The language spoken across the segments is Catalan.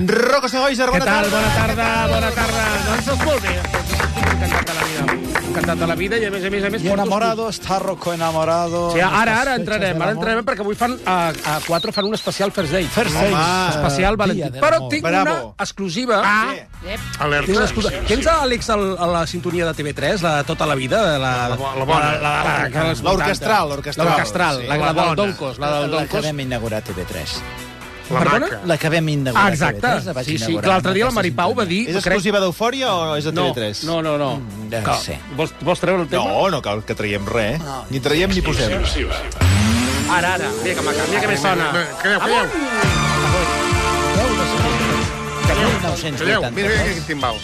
Rocco Segoiser, Què bona tal? tarda. Bona tarda, bona tarda. Doncs doncs molt bé. Estic encantat de la vida. Encantat de la vida i, a més a més, a més... Y porto- enamorado está Rocco enamorado. Sí, ara, ara Estas fechas entrarem, del ara amor. entrarem perquè avui fan, a, a 4 fan un especial First Date. First dates, Home, eh, especial Dia Valentí. del Però amor. tinc Bravo. una exclusiva. Ah. Tinc una exclusiva. Tens a Àlex al, a la sintonia de TV3, la de tota la vida? La, la, la bona. L'orquestral, l'orquestral. L'orquestral, Sí. la, la, del Doncos. La del La que Doncos. vam inaugurar a TV3. Perdona? La que vam inaugurar Ah, a exacte. TV3 la vaig Sí, sí. inaugurar L'altre dia la amb aquesta Maripau va dir... És crec- exclusiva d'Eufòria o és de TV3? No, no, no. Mm, ja Cal- sé. Vols, vols treure el tema? No, no cal que traiem res. eh? No. Ni traiem ni posem. Ara, ara. Mira que m'acà, mira que me sona. Calleu, calleu, sintonia. Deu de setembre de calleu. 1983. Mira, mira aquest timbal.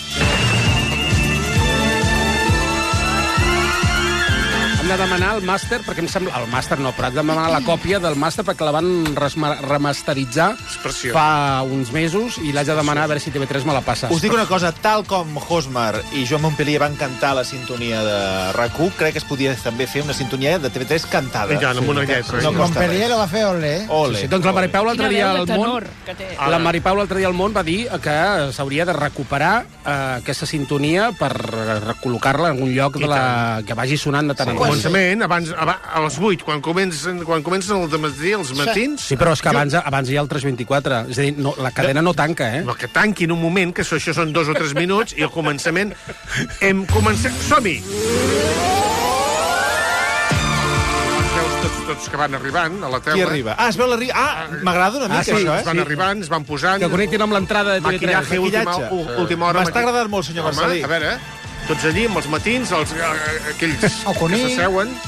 Hem de demanar el màster, perquè em sembla... El màster no, però hem de demanar la còpia del màster perquè la van resma- remasteritzar preciós. fa uns mesos i l'haig de demanar a veure si TV3 me la passa. Us dic una cosa, tal com Hosmer i Joan Montpellier van cantar la sintonia de rac crec que es podia també fer una sintonia de TV3 cantada. I tant, amb una lletra. No costa Montpellier res. la eh? va fer Olé. Ole. Sí, doncs la Maripau l'altre Quina dia veu de al tenor món... que Ah, té. La Maripau l'altre dia al món va dir que s'hauria de recuperar eh, aquesta sintonia per recol·locar-la en algun lloc de la... que vagi sonant de tant en Al tant. començament, abans, aba- a les 8, quan comencen, quan comencen el matí, els matins... Sí, però és que abans, abans hi ha el 324. És a dir, no, la cadena no tanca, eh? No, que tanquin un moment, que això, això són dos o tres minuts, i al començament hem començat... Som-hi! Els veus tots, tots que van arribant a la Qui teula. arriba? Ah, es veu la ri... Ah, m'agrada una mica, Ah, sí, això, Es van eh? arribant, es van posant... Que connectin amb l'entrada de TV3. Maquillatge, última, Maquillatge. u- última hora. M'està maqui- agradant molt, senyor Home, Marcelí. A veure, tots allí, amb els matins, els, eh, aquells El que Cuní. s'asseuen,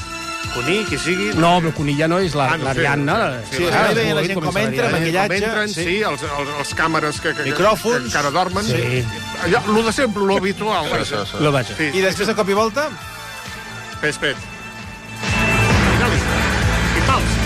Cuní, qui sigui... No, però Cunilla no és la- Ah, no, l'Ariadna. La, sí, Sí, Ah, es és veia la molt gent com eh? com entra, s'agrada. maquillatge... Eh, Entren, sí, els, els, els càmeres que, que, que- Micròfons. que encara dormen. Sí. Allò, lo de sempre, lo habitual. vaja. Lo vaja. Sí. I després, de cop i volta, Espera, espera. Finalista. I pals.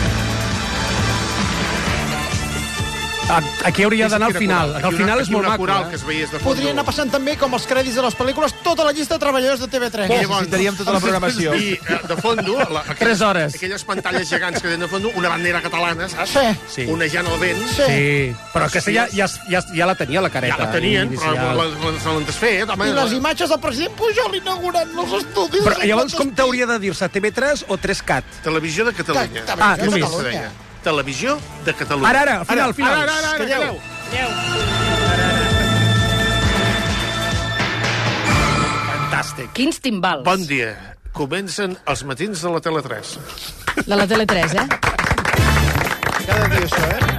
A- Ah, Aquí hauria d'anar al final. que Al final és molt una maco. coral que Eh? es veies de fons. Podria anar passant també, com els crèdits de les pel·lícules, tota la llista de treballadors de TV3. I llavors- necessitaríem tota la programació. I eh, de fondo... La, aquelles, Tres hores. Aquelles pantalles gegants que tenen de fondo, una bandera catalana, saps? Sí. Sí. Onejant el vent. Sí. Sí, però aquesta ja, ja, es- ja, es- ja la tenia, la Ja careta. la tenien, però inicial. la- la- se l'han desfet. Home, I les la- imatges del president Pujol inaugurant els estudis. Però llavors com t'hauria de dir-se, TV3 o 3CAT? Televisió de Catalunya. Ta- Televisió Ah, de només. Catalunya. Es deia. Televisió de Catalunya. Ara, ara, final, final. Ara, ara, ara, Calleu. calleu. Fantàstic. Quins timbals. Bon dia. Comencen els matins de la Tele3. De la Tele3, eh? cada dia això, eh?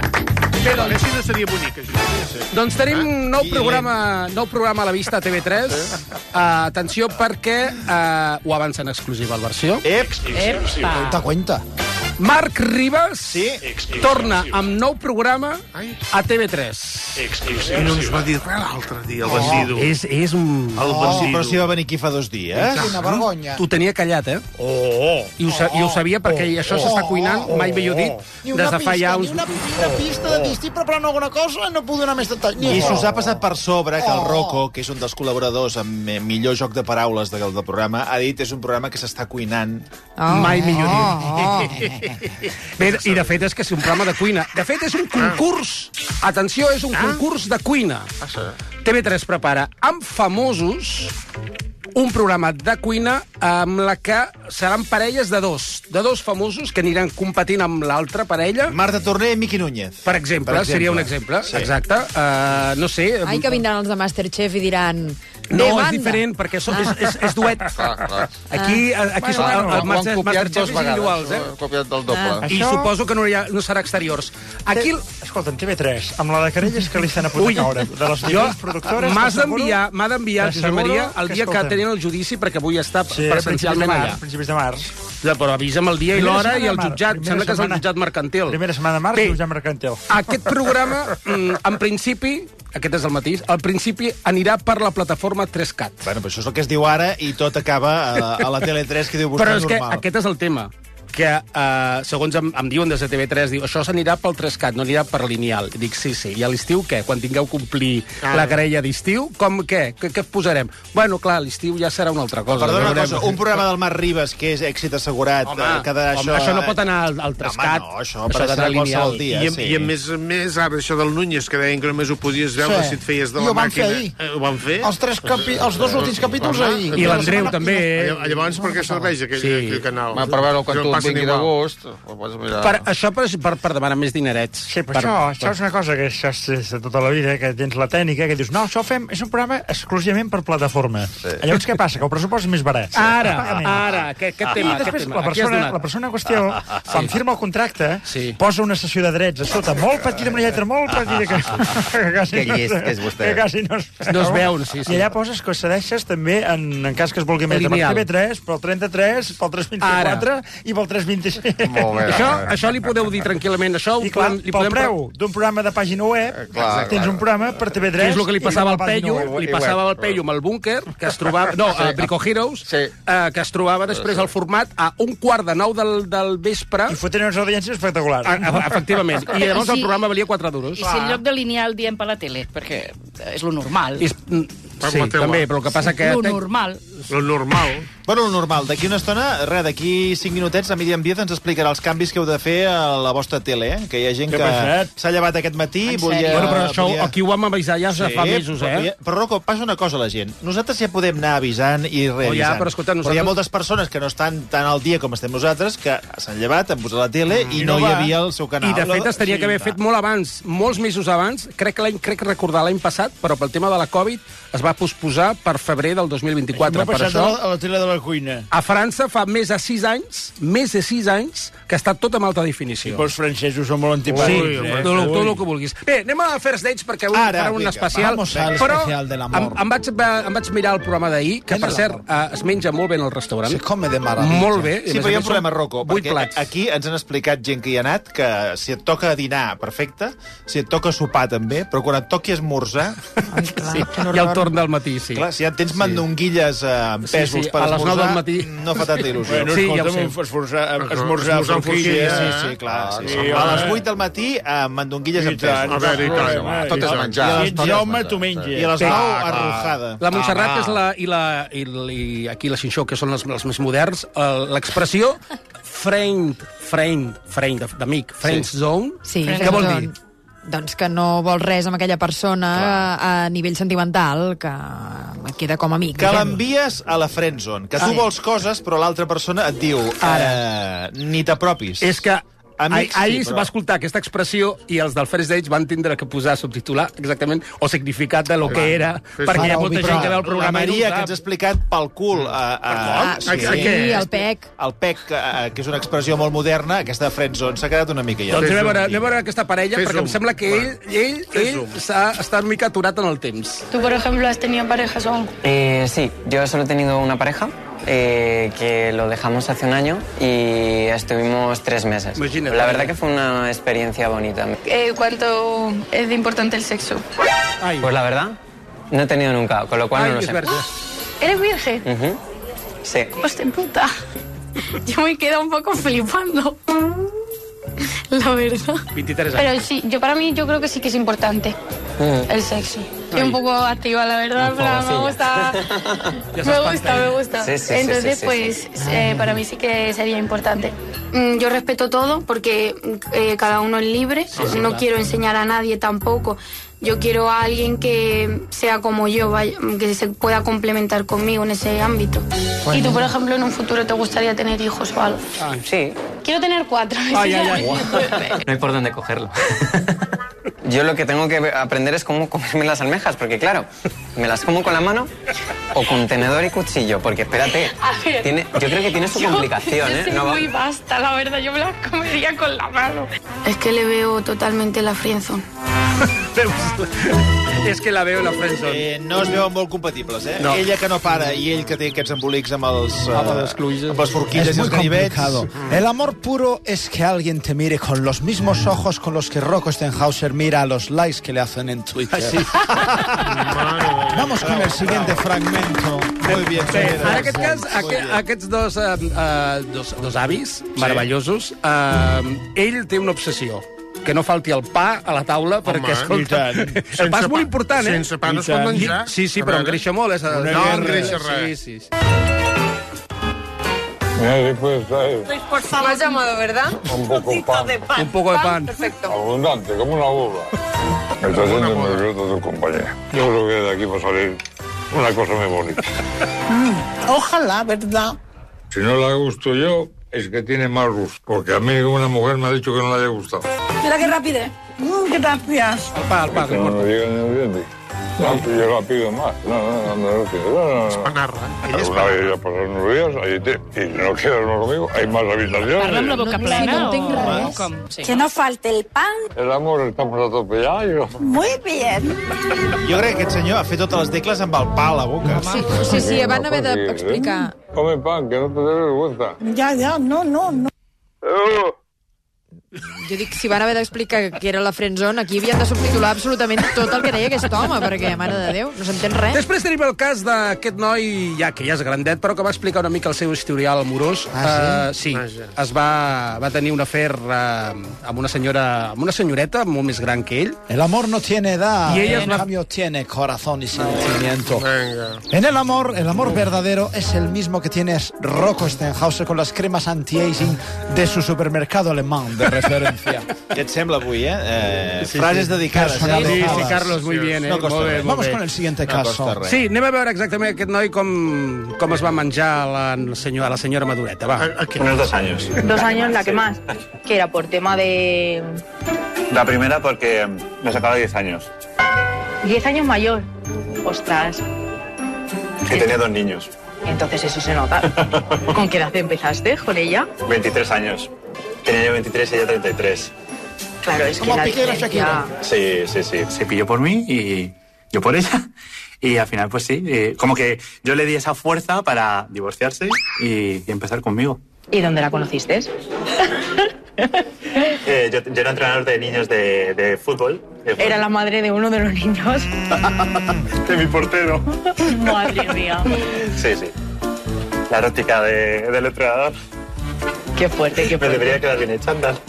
Bé, doncs... Així no seria bonic, això. Doncs tenim Ah. un nou Guillem. programa, nou programa a la vista a TV3. Uh, atenció, perquè uh, ho avança en exclusiva al versió. Ep, Te Epa. cuenta. Marc Ribas sí. torna amb nou programa Ai. a TV3. I no ens va dir res l'altre dia, el bandido. És, és un... El però si, però si bandido. va venir aquí fa dos dies. Quina vergonya. T'ho tenia callat, eh? Oh, oh, I, ho sa- I ho sabia perquè això s'està cuinant, mai millor dit, Ni una des de fa pista, ja Oh. ni uns... una, ni una pista de destí preparant alguna cosa, no puc donar més detall. Ni I això. s'us ha passat per sobre que el Oh. Rocco, que és un dels col·laboradors amb eh, millor joc de paraules del, del programa, ha dit és un programa que s'està cuinant. Oh. Mai millor Oh, dit. Bé, I de fet és que és un programa de cuina. De fet és un concurs. Atenció, és un concurs de cuina. TV3 prepara amb famosos un programa de cuina amb la que seran parelles de dos. De dos famosos que aniran competint amb l'altra parella. Marta Torné i Miqui Núñez. Per exemple, per exemple, seria un exemple. Sí. Exacte. Uh, no sé... Ai, que vindran els de Masterchef i diran... No, "Bé, és banda". diferent, perquè Ah. so, és, és, és duet. Aquí, a- aquí bueno, Bueno, bueno, el, el ho han Master, copiat Masterchef és dues vegades. individuals, eh? Ho han copiat del doble. Ah. I Això- suposo que no, hi ha, no serà exteriors. Aquí... el- Escolta'm, TV3, amb la de querelles que li estan a punt de caure, de les Jo, diferents productores... m'has t'asseguro- d'enviar, m'ha d'enviar, Josep t'asseguro Maria, el que, dia que escolta'm, tenen el judici, perquè vull estar Sí, a principis de presencialment març, allà. a principis de març. Ja, però avisa'm el dia i Primera l'hora i setmana el de març, jutjat. primera Sembla que és el setmana- jutjat mercantil. Primera setmana de març, Bé, Bé. ja mercantil. Aquest programa, mm, en principi, aquest és el matís, al principi anirà per la plataforma 3CAT. Bueno, però això és el que es diu ara i tot acaba a, a la Tele3 que diu vostè Però és que normal. aquest és el tema que, eh, segons em, em diuen des de TV3, diu, això s'anirà pel Trescat, no anirà per lineal. Dic, sí, sí. I a l'estiu què? Quan tingueu complir Ah. eh. la querella d'estiu, com què? Què, què posarem? Bueno, clar, a l'estiu ja serà una altra cosa. Perdona una veurem. cosa, un programa del Mar Ribas, que és èxit assegurat, Home, eh, quedarà home, això no pot anar al- al Trescat. Home, no, Això això, ha això d'anar passarà lineal. qualsevol dia. I, a, sí. I a més a més, ara això del Núñez, que deien que només ho podies veure Sí. si et feies de I la ho van màquina. fer ahir. Eh, ho van fer? Els, tres capi... els dos últims capítols ahir. I l'Andreu també. Eh, eh? Llavors, per què serveix aquell, Sí. aquell canal? Va, per veure-ho quan Jo tu passen vingui igual. d'agost. ho pots mirar. Per, això per, per, per demanar més dinerets. Sí, però això, això és una cosa que això és des de tota la vida, que tens la tècnica, que dius, no, això ho fem, és un programa exclusivament per plataforma. Sí. Llavors què passa? Que el pressupost és més barat. Ara, Pagament. ara, aquest, aquest tema. Ah. I després aquest tema. la Aquí has persona, donat. Ah, la persona en qüestió, quan firma el contracte, Sí. posa una sessió de drets a sota, molt petita, amb una lletra molt petita, que, que, quasi, Que llest no- que és vostè. que quasi no es veu. No es veu, sí, sí. I allà poses que cedeixes també, en, en cas que es vulgui més, per Lineal. TV3, pel 33, pel 324 i pel 326. Molt bé. Això, això li podeu dir tranquil·lament. Això I clar, li pel podem... Eh, preu d'un programa de pàgina web, clar, tens clar. un programa per TV3... Que és el que li i passava al per la pàgina Pello, web. li i passava web. al Pello amb el búnquer, que es trobava... No, a Brico Heroes, Sí. eh, que es trobava després el format a un quart de nou del, del vespre. I fotent unes audiències espectaculars. A, a, efectivament. I llavors el programa valia 4 duros. I si en lloc de lineal diem per la tele, perquè és lo normal. I, És es- mm, sí, la teua. també, però el que passa que... lo té- normal. Lo normal. Bueno, el normal, d'aquí una estona, res, d'aquí 5 minutets, a midi en diet ens explicarà els canvis que heu de fer a la vostra tele, eh? que hi ha gent Què que passat? s'ha llevat aquest matí, En volia... sèrio? Bueno, però això volia... aquí ho vam avisar ja fa mesos, però, eh? Però, Rocco, passa una cosa a la gent. Nosaltres ja podem anar avisant i reavisant. ja, però escolta, però hi nosaltres- ha moltes persones que no estan tan al dia com estem nosaltres, que s'han llevat, han posat la tele i, no, no hi va. havia el seu canal. I, de fet, es tenia que haver fet molt abans, molts mesos abans, crec que l'any, crec recordar l'any passat, però pel tema de la Covid es va posposar per febrer del 2024. M'ha Per passat això, a la, a la tele de la cuina. a França fa més de 6 anys, més de 6 anys, que està tot amb alta definició. Però els francesos són molt Sí, antipàtics. Ui, eh? home. tot, el- tot el que vulguis. Bé, anem a First Dates perquè avui Ara, farà un vinga, especial. vamos al però especial de l'amor. em, em, vaig, va- em vaig mirar el programa d'ahir, que, Ven per a cert, l'amor. eh, es menja molt bé en el restaurant. Se come de maravilla. Molt bé. Sí, però hi ha un problema, Rocco, Vuit perquè plats. aquí ens han explicat gent que hi ha anat que si et toca dinar, perfecte, si et toca sopar, també, però quan et toqui esmorzar... Ai, clar, Sí, quin i el horror. torn del matí, sí. Clar, si ja tens mandonguilles eh, amb Sí, pèsols sí, per a les nou esmorzar, del matí. no fa tanta il·lusió. Bueno, Sí, ja ho escolta'm, sé. esforçar, esmorzar amb Sí, forquilla. Ah, sí, sí, clar. Sí, sí. sí, a les home. 8 del matí, eh, mandonguilles amb A pèsols. veure, i tant. eh, Tot és menjar. I a les- tot és Jaume, menjar, tu menges. I a les 9, arrojada. La Montserrat és la, i, la, i, la, i aquí la Xinxó, que són els, els més moderns, el- l'expressió friend, friend, friend, de- d'amic, friend sí. zone, Sí, què vol dir? doncs, Doncs que no vol res amb aquella persona a, a nivell sentimental, que queda com amic. Que diguem-ne. l'envies a la friendzone, que tu Sí. vols coses, però l'altra persona et diu ara, ni t'apropis. És que Amics, Amics, sí, ahir sí, però- va escoltar aquesta expressió i els del First Dates van tindre que posar subtitular exactament o significat de lo que era, sí. perquè hi Però, ha molta però, gent que veu el La programa i Maria, que no ho ens ha sap. explicat pel cul... A, a, Ah, sí, a- a què? el E E pec. El PEC, que, eh, que és una expressió molt moderna, aquesta friendzone, s'ha quedat una mica ja. Doncs Fes anem a veure, zoom. anem a veure aquesta parella, Fes perquè em zoom. sembla que Va. ell, ell, Fes ell zoom. s'ha- està una mica aturat en el temps. ¿Tú, por ejemplo, has tenido parejas o algo? Eh, sí, yo solo he tenido una pareja eh, que lo dejamos hace un año y estuvimos tres meses. Imagínate. La verdad que fue una experiencia bonita. Eh, ¿Cuánto es de importante el sexo? Ai, Pues la verdad, no he tenido nunca, con lo cual ai no lo és sé. verge. ¿Eres virgen? Ujú. Sí. Hostia puta. Yo me quedo un poco flipando. La verdad. 23 anys. Pero sí, yo para mí yo creo que sí que es importante Mm. el sexo. Estoy un poco activa, la verdad, pero me gusta. Me gusta, me gusta. Sí, sí, sí, Entonces, sí, sí, pues eh, Ah. para mí sí que sería importante. Mm, Yo respeto todo porque mm, eh, cada uno es libre. no quiero enseñar a nadie tampoco. Yo quiero a alguien que sea como yo, vaya, que se pueda complementar conmigo en ese ámbito. ¿Y tú, por ejemplo, en un futuro te gustaría tener hijos o algo? Sí, Quiero tener cuatro. Ay, ay, ay. no hay por dónde cogerlo. Yo lo que tengo que aprender es cómo comerme las almejas, porque claro, me las como con la mano o con tenedor y cuchillo, porque espérate, A ver. tiene, yo creo que tiene su complicación, yo ¿eh? soy va- muy basta, la verdad, yo me la comería con la mano. Es que le veo totalmente la frienzón. És que la veu la friendzone. Eh, no es veuen molt compatibles, eh? No. Ella que no para i ell que té aquests embolics amb els... Eh, Amb les cluïses. Amb les forquilles Es i muy els ganivets. Mm. complicado. El amor puro es que alguien te mire con los mismos ojos con los que Rocco Stenhauser mira a los likes que le hacen en Twitter. Mare de Ah, Vamos con el siguiente fragmento. Muy bien, En aquest cas, aqu aquests dos, eh, eh, dos, dos avis meravellosos, eh, ell té una obsessió que no falti el pa a la taula, perquè, escolta, i tant. el pa és Sense pa- molt important, eh? sense pa no I es pot tant. menjar. Sí, sí, A però veure. engreixa molt. És, Una no, guerra. engreixa res. Sí, sí, sí. Mira, después ¿sabes? Luis, por favor. Más llamado, ¿verdad? un poco de pan, De pan. Un poco de pan. Perfecto. abundante, como una boda. Me está haciendo nervioso tu compañera. Yo creo que de aquí va a salir una cosa muy bonita. Mm, Ojalá, ¿verdad? Si no la gusto yo, es que tiene más gusto, porque a mí una mujer me ha dicho que no le haya gustado. Mira qué rápido. Mm, gracias. Que no me digan nervioso. No, pues yo la pido más. No, no, no, no, no, quiero. no, no, no. Alguna vez ya pasaron unos días, ahí te, y no quiero uno conmigo, hay más habitaciones. no tengo Que no falte el pan. El amor estamos atropellados. Muy bien. Jo crec que aquest senyor ha fet totes les tecles amb el pa a la boca. Sí, sí, sí, van haver Porque, ¿eh? d'explicar... Come pan, que no te dé vergüenza. Ya, ya, no, no, no. Jo dic, si van haver d'explicar que era la friendzone, aquí havien de subtitular absolutament tot el que deia aquest home, perquè, mare de Déu, no s'entén res. Després tenim el cas d'aquest noi, ja que ja és grandet, però que va explicar una mica el seu historial amorós. Ah, sí? Uh, sí. Es va, va tenir un afer uh, amb una senyora, amb una senyoreta molt més gran que ell. El amor no tiene edad, Y ella es en la- cambio tiene corazón y sentimiento. En el amor, el amor verdadero es el mismo que tienes Rocco Stenhouse con las cremas anti-aging de su supermercado alemán de referencia. Què et sembla avui, eh? eh Sí, sí. frases dedicades. Personal. eh? Sí, sí, Carlos, muy bien, eh? No costa Molt bé, res. molt bé. siguiente No caso. costa res. Sí, anem a veure exactament aquest noi com, com es va menjar la, senyor, a la senyora Madureta. Va. Unos dos años. Dos años la que más, que era por tema de La primera porque me sacaba 10 años 10 años mayor. Ostras, y tenía dos niños. entonces eso se nota. ¿Con qué edad empezaste con ella? 23 años. Tenía yo 23 y ella 33. Claro, es que Como la Piqué y la diferencia... Sí, sí, sí. Se pilló por mí y yo por ella. Y al final, pues sí, eh, como que yo le di esa fuerza para divorciarse y, y empezar conmigo. ¿Y dónde la conociste? Eh, yo, yo era entrenador de niños de, de fútbol. de fútbol. Era la madre de uno de los niños. De mi portero. Madre mía. Sí, sí. La erótica de, del entrenador. Qué fuerte, qué fuerte. Me debería quedar bien el chándal.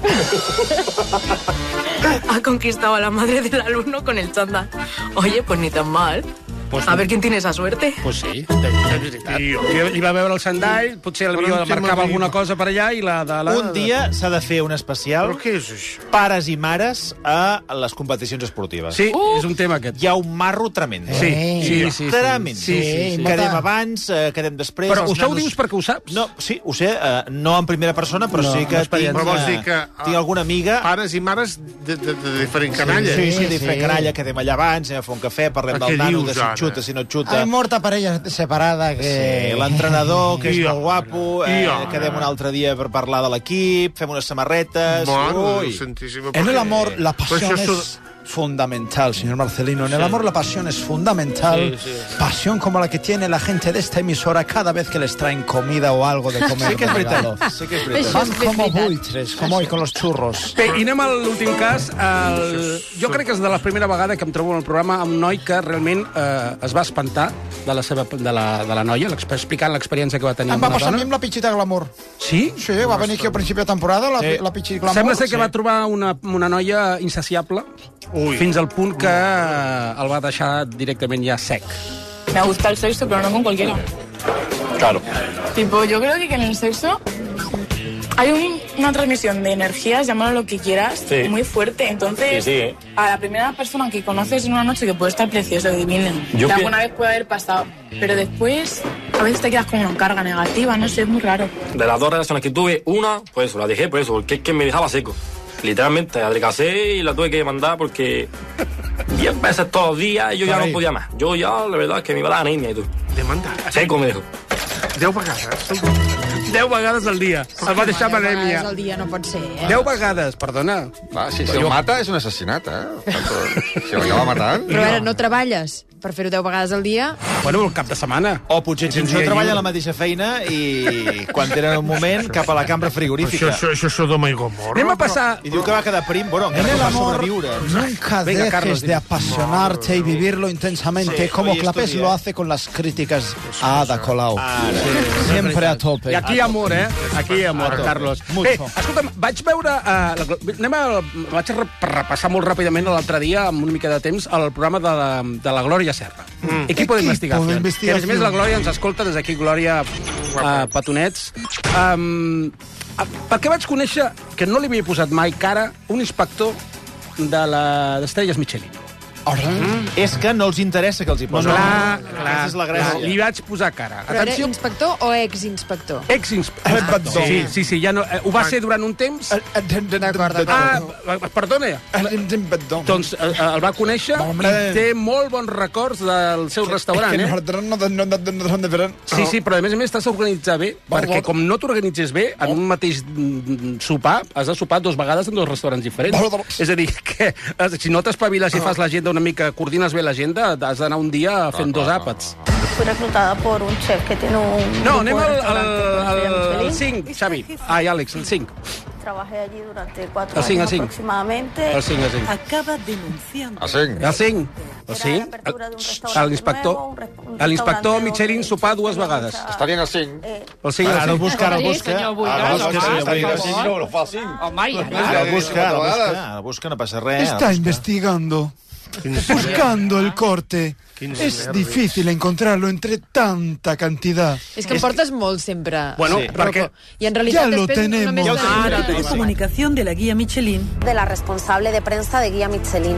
Ha conquistado a la madre del alumno con el chándal. Oye, pues ni tan mal. Pues a ver quién tiene esa suerte. Pues sí, de, de veritat. Li, li va veure el sandall, potser Però la em sembla marcava que- alguna cosa per allà i la de la... Un dia s'ha de fer un especial Però què és això? pares i mares a les competicions esportives. Sí, és un tema aquest. Hi ha un marro tremendo. Sí, sí, sí, sí, sí. Tremendo. Sí, sí, sí. Quedem abans, eh, quedem després... Però els això ho nanos- dius perquè ho saps? No, sí, ho sé, eh, no en primera persona, però No, sí que no experiència. Però vols eh, dir que, tinc alguna amiga... Pares i mares de, de, de diferent canalla. Sí, sí, sí, sí. canalla, quedem allà abans, anem a fer un cafè, parlem Però què del nano, dius, de si ara? xuta, si no xuta... Hay muerta parella separada que... Sí, Eh, l'entrenador, que és I molt guapo, eh, I home. quedem un altre dia per parlar de l'equip, fem unes samarretes... Mare Ui. Eh, En el amor la pasión Pues eso- es fundamental, señor Marcelino. En el Sí. amor la pasión es fundamental. Sí, sí. Pasión como la que tiene la gente de esta emisora cada vez que les traen comida o algo de comer. Sí que és de veritat, regalo. sí que és veritat. Van Això és como veritat. buitres, como hoy con los churros. Bé, i anem a l'últim cas. El... Jo crec que és de la primera vegada que em trobo en el programa amb un noi que realment eh, es va espantar de la, seva, de la, de la noia, l'expe- explicant l'experiència que va tenir Em amb va una passar a mi dona. amb la pitxita glamour. Sí? Sí, va venir aquí al principi de temporada, la, la pitxita glamour. Sembla ser que Sí. va trobar una, una noia insaciable Ui. fins al punt que eh, el va deixar directament ja sec. Me gusta el sexo, pero no con cualquiera. Claro. Tipo, yo creo que en el sexo hay un- una transmisión de energías, llámalo lo que quieras, Sí. muy fuerte. Entonces, Sí, sí, ¿eh? a la primera persona que conoces en una noche que puede estar preciosa, divina, Yo que pi- alguna vez puede haber pasado, pero después a veces te quedas con una carga negativa, no sé, es muy raro. De las dos relaciones que tuve, una, pues eso, la dejé por eso, porque es que me dejaba seco. Literalmente, adelgacé y la tuve que mandar porque 10 veces todos los días yo ya Caray. no podía más. Yo ya, la verdad, es que me iba a dar anemia y tú. Demanda. Seco me dejó. 10 vegades. 10 vegades al dia. El va deixar amb anèmia. Al dia no pot ser, eh? 10 vegades, perdona. Va, si, si el mata és un assassinat, eh? Si l'acaba matant... Però ara no treballes. per fer-ho 10 vegades al dia... Bueno, el cap de setmana. O potser si no treballa a la mateixa feina i quan tenen un moment cap a la cambra frigorífica. Això, això, això és Sodoma i Gomorra. Anem a passar... I diu que va quedar prim, bueno, En encara el que va amor sobreviure. nunca Venga, dejes Carlos, de dime. apasionarte y vivirlo intensamente, Sí, como hoy es tu Clapés día. lo hace con las críticas a Ada Colau. Siempre a tope. I aquí hi ha amor, eh? Aquí hi ha amor, Carlos. Bé, escolta'm, vaig veure... eh, la, anem a, vaig re- repassar molt ràpidament l'altre dia, amb una mica de temps, el programa de la, de la Glòria Serra. Mm. Equipo de investigació. Que, a més, a més, la Glòria ens escolta des d'aquí, Glòria eh, Petonets. Um, perquè vaig conèixer, que no li havia posat mai cara, un inspector de la- d'Estrelles Michelin. Mm. És que no els interessa que els hi posin. Clar, clar, Aquesta és la gràcia. Li vaig posar cara. Però era Atenció, inspector o exinspector? Ex-inspector. Sí, sí, sí, ja no, eh, ho va ser durant un temps. D'acord, Ah, d'acord. eh, perdona. Doncs eh, eh, el va conèixer i té molt bons records del seu restaurant, Es que eh? nosotros no, no, no, no, no son de verano. Sí, sí, però a més a més t'has d'organitzar bé, perquè com no t'organitzes bé, en un mateix mm, sopar, has de sopar dues vegades en dos restaurants diferents. És a dir, que eh, si no t'espaviles i fas l'agenda una mica, coordines bé l'agenda, has d'anar un dia fent dos àpats. Fui reclutada por un chef que tiene un... grupo No, anem de al, al, restaurante con al, Estrella Michelin. al 5, Xavi. Ai, Àlex, el 5. Trabajé allí durante cuatro Al cinc, al años cinc. aproximadamente. Al cinc, al cinc. Acaba denunciando... El 5. El 5. El 5. L'inspector. L'inspector Michelin sopar dues vegades. Està dient el 5. El 5. Ara el busca, ara el busca. Ara el busca, sí, el busca. fa el 5. Oh, Home, Ara ja. el busca, ara el busca, ara el busca, no passa res. Està investigando, buscando el corte. Quins Es nervis. difícil encontrarlo entre tanta cantidad. És que em portes molt sempre, Bueno, Rocco. perquè- I en realitat Ja lo després tenemos. només... Ja ho tenim, Ara, ja ho tenim. vale. Comunicación de la guía Michelin. De la responsable de prensa de guía Michelin.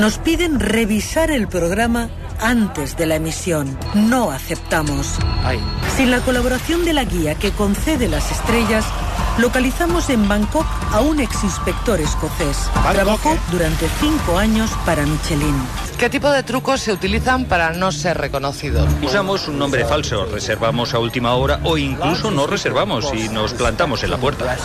Nos piden revisar el programa antes de la emisión. No aceptamos. Sin la colaboración de la guía que concede las estrellas, localizamos en Bangkok a un exinspector escocés. Trabajó durante cinco años para Michelin. ¿Qué tipo de trucos se utilizan para no ser reconocidos? Usamos un nombre falso, reservamos a última hora o incluso no reservamos y nos plantamos en la puerta.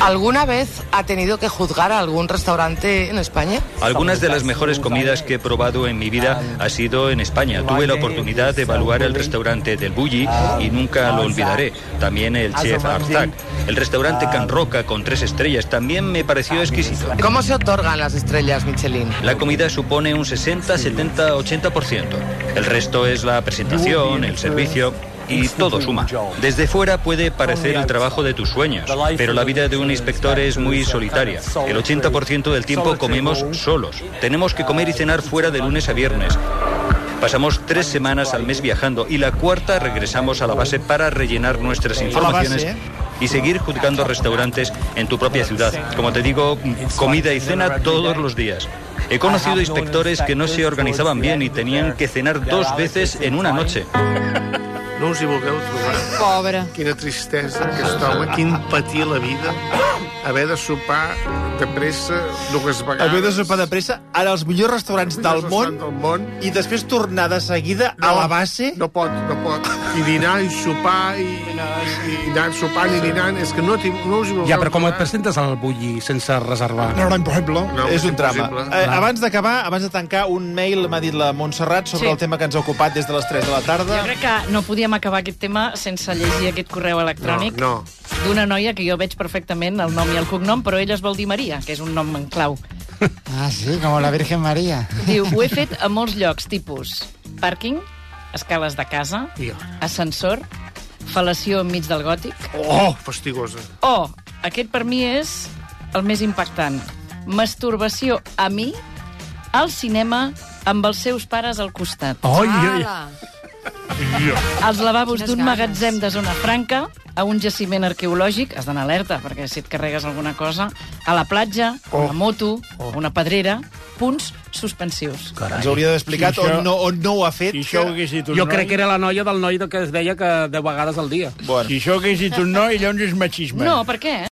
¿Alguna vez ha tenido que juzgar a algún restaurante en España? Algunas de las mejores comidas que he probado en mi vida ha sido en España. Tuve la oportunidad de evaluar el restaurante del Bulli y nunca lo olvidaré. También el chef Arzak. El restaurante Can Roca con tres estrellas también me pareció exquisito. ¿Cómo se otorgan las estrellas Michelin? La comida supone un 60, 70, 80%. El resto es la presentación, el servicio y todo suma. Desde fuera puede parecer el trabajo de tus sueños, pero la vida de un inspector es muy solitaria. El 80% del tiempo comemos solos. Tenemos que comer y cenar fuera de lunes a viernes. Pasamos tres semanas al mes viajando y la cuarta regresamos a la base para rellenar nuestras informaciones base, ¿eh? y seguir juzgando restaurantes en tu propia ciudad. Como te digo, comida y cena todos los días. He conocido inspectores que no se organizaban bien y tenían que cenar dos veces en una noche. No us hi vulgueu trobar. Pobre. Quina tristesa, aquest home, quin patir la vida. Haver de sopar de pressa dues vegades. Haver de sopar de pressa ara als millors restaurants del món, del món. i després tornar de seguida a la base... No pot, no pot. I dinar, i sopar, i, i anar sopant i dinant. És que no, t'hi- no us hi vulgueu Ja, però com et presentes al bulli sense reservar? No, no, impossible. No, és un drama. impossible. Eh, Clar. abans d'acabar, abans de tancar, un mail m'ha dit la Montserrat sobre Sí. el tema que ens ha ocupat des de les 3 de la tarda. Jo crec que no podíem acabar aquest tema sense llegir aquest correu electrònic No, no. d'una noia que jo veig perfectament el nom i el cognom, però ella es vol dir Maria, que és un nom en clau. Ah, sí, como la Virgen María. Diu, ho he fet a molts llocs, tipus pàrquing, escales de casa, ascensor, fal·lació enmig del gòtic, Oh, fastigosa. o, aquest per mi és el més impactant, masturbació a mi, al cinema, amb els seus pares al costat. Ai, ai. als lavabos Quines d'un ganes. magatzem de zona franca, a un jaciment arqueològic, has d'anar alerta, perquè si et carregues alguna cosa, a la platja, oh. una moto, oh. una pedrera, punts suspensius. Ens hauria d'haver explicat I això- on, no, on no ho ha fet. Jo crec que era la noia del noi que es deia que deu vegades al dia. Bueno. Si això hagués dit un noi, llavors és machisme. No, per què?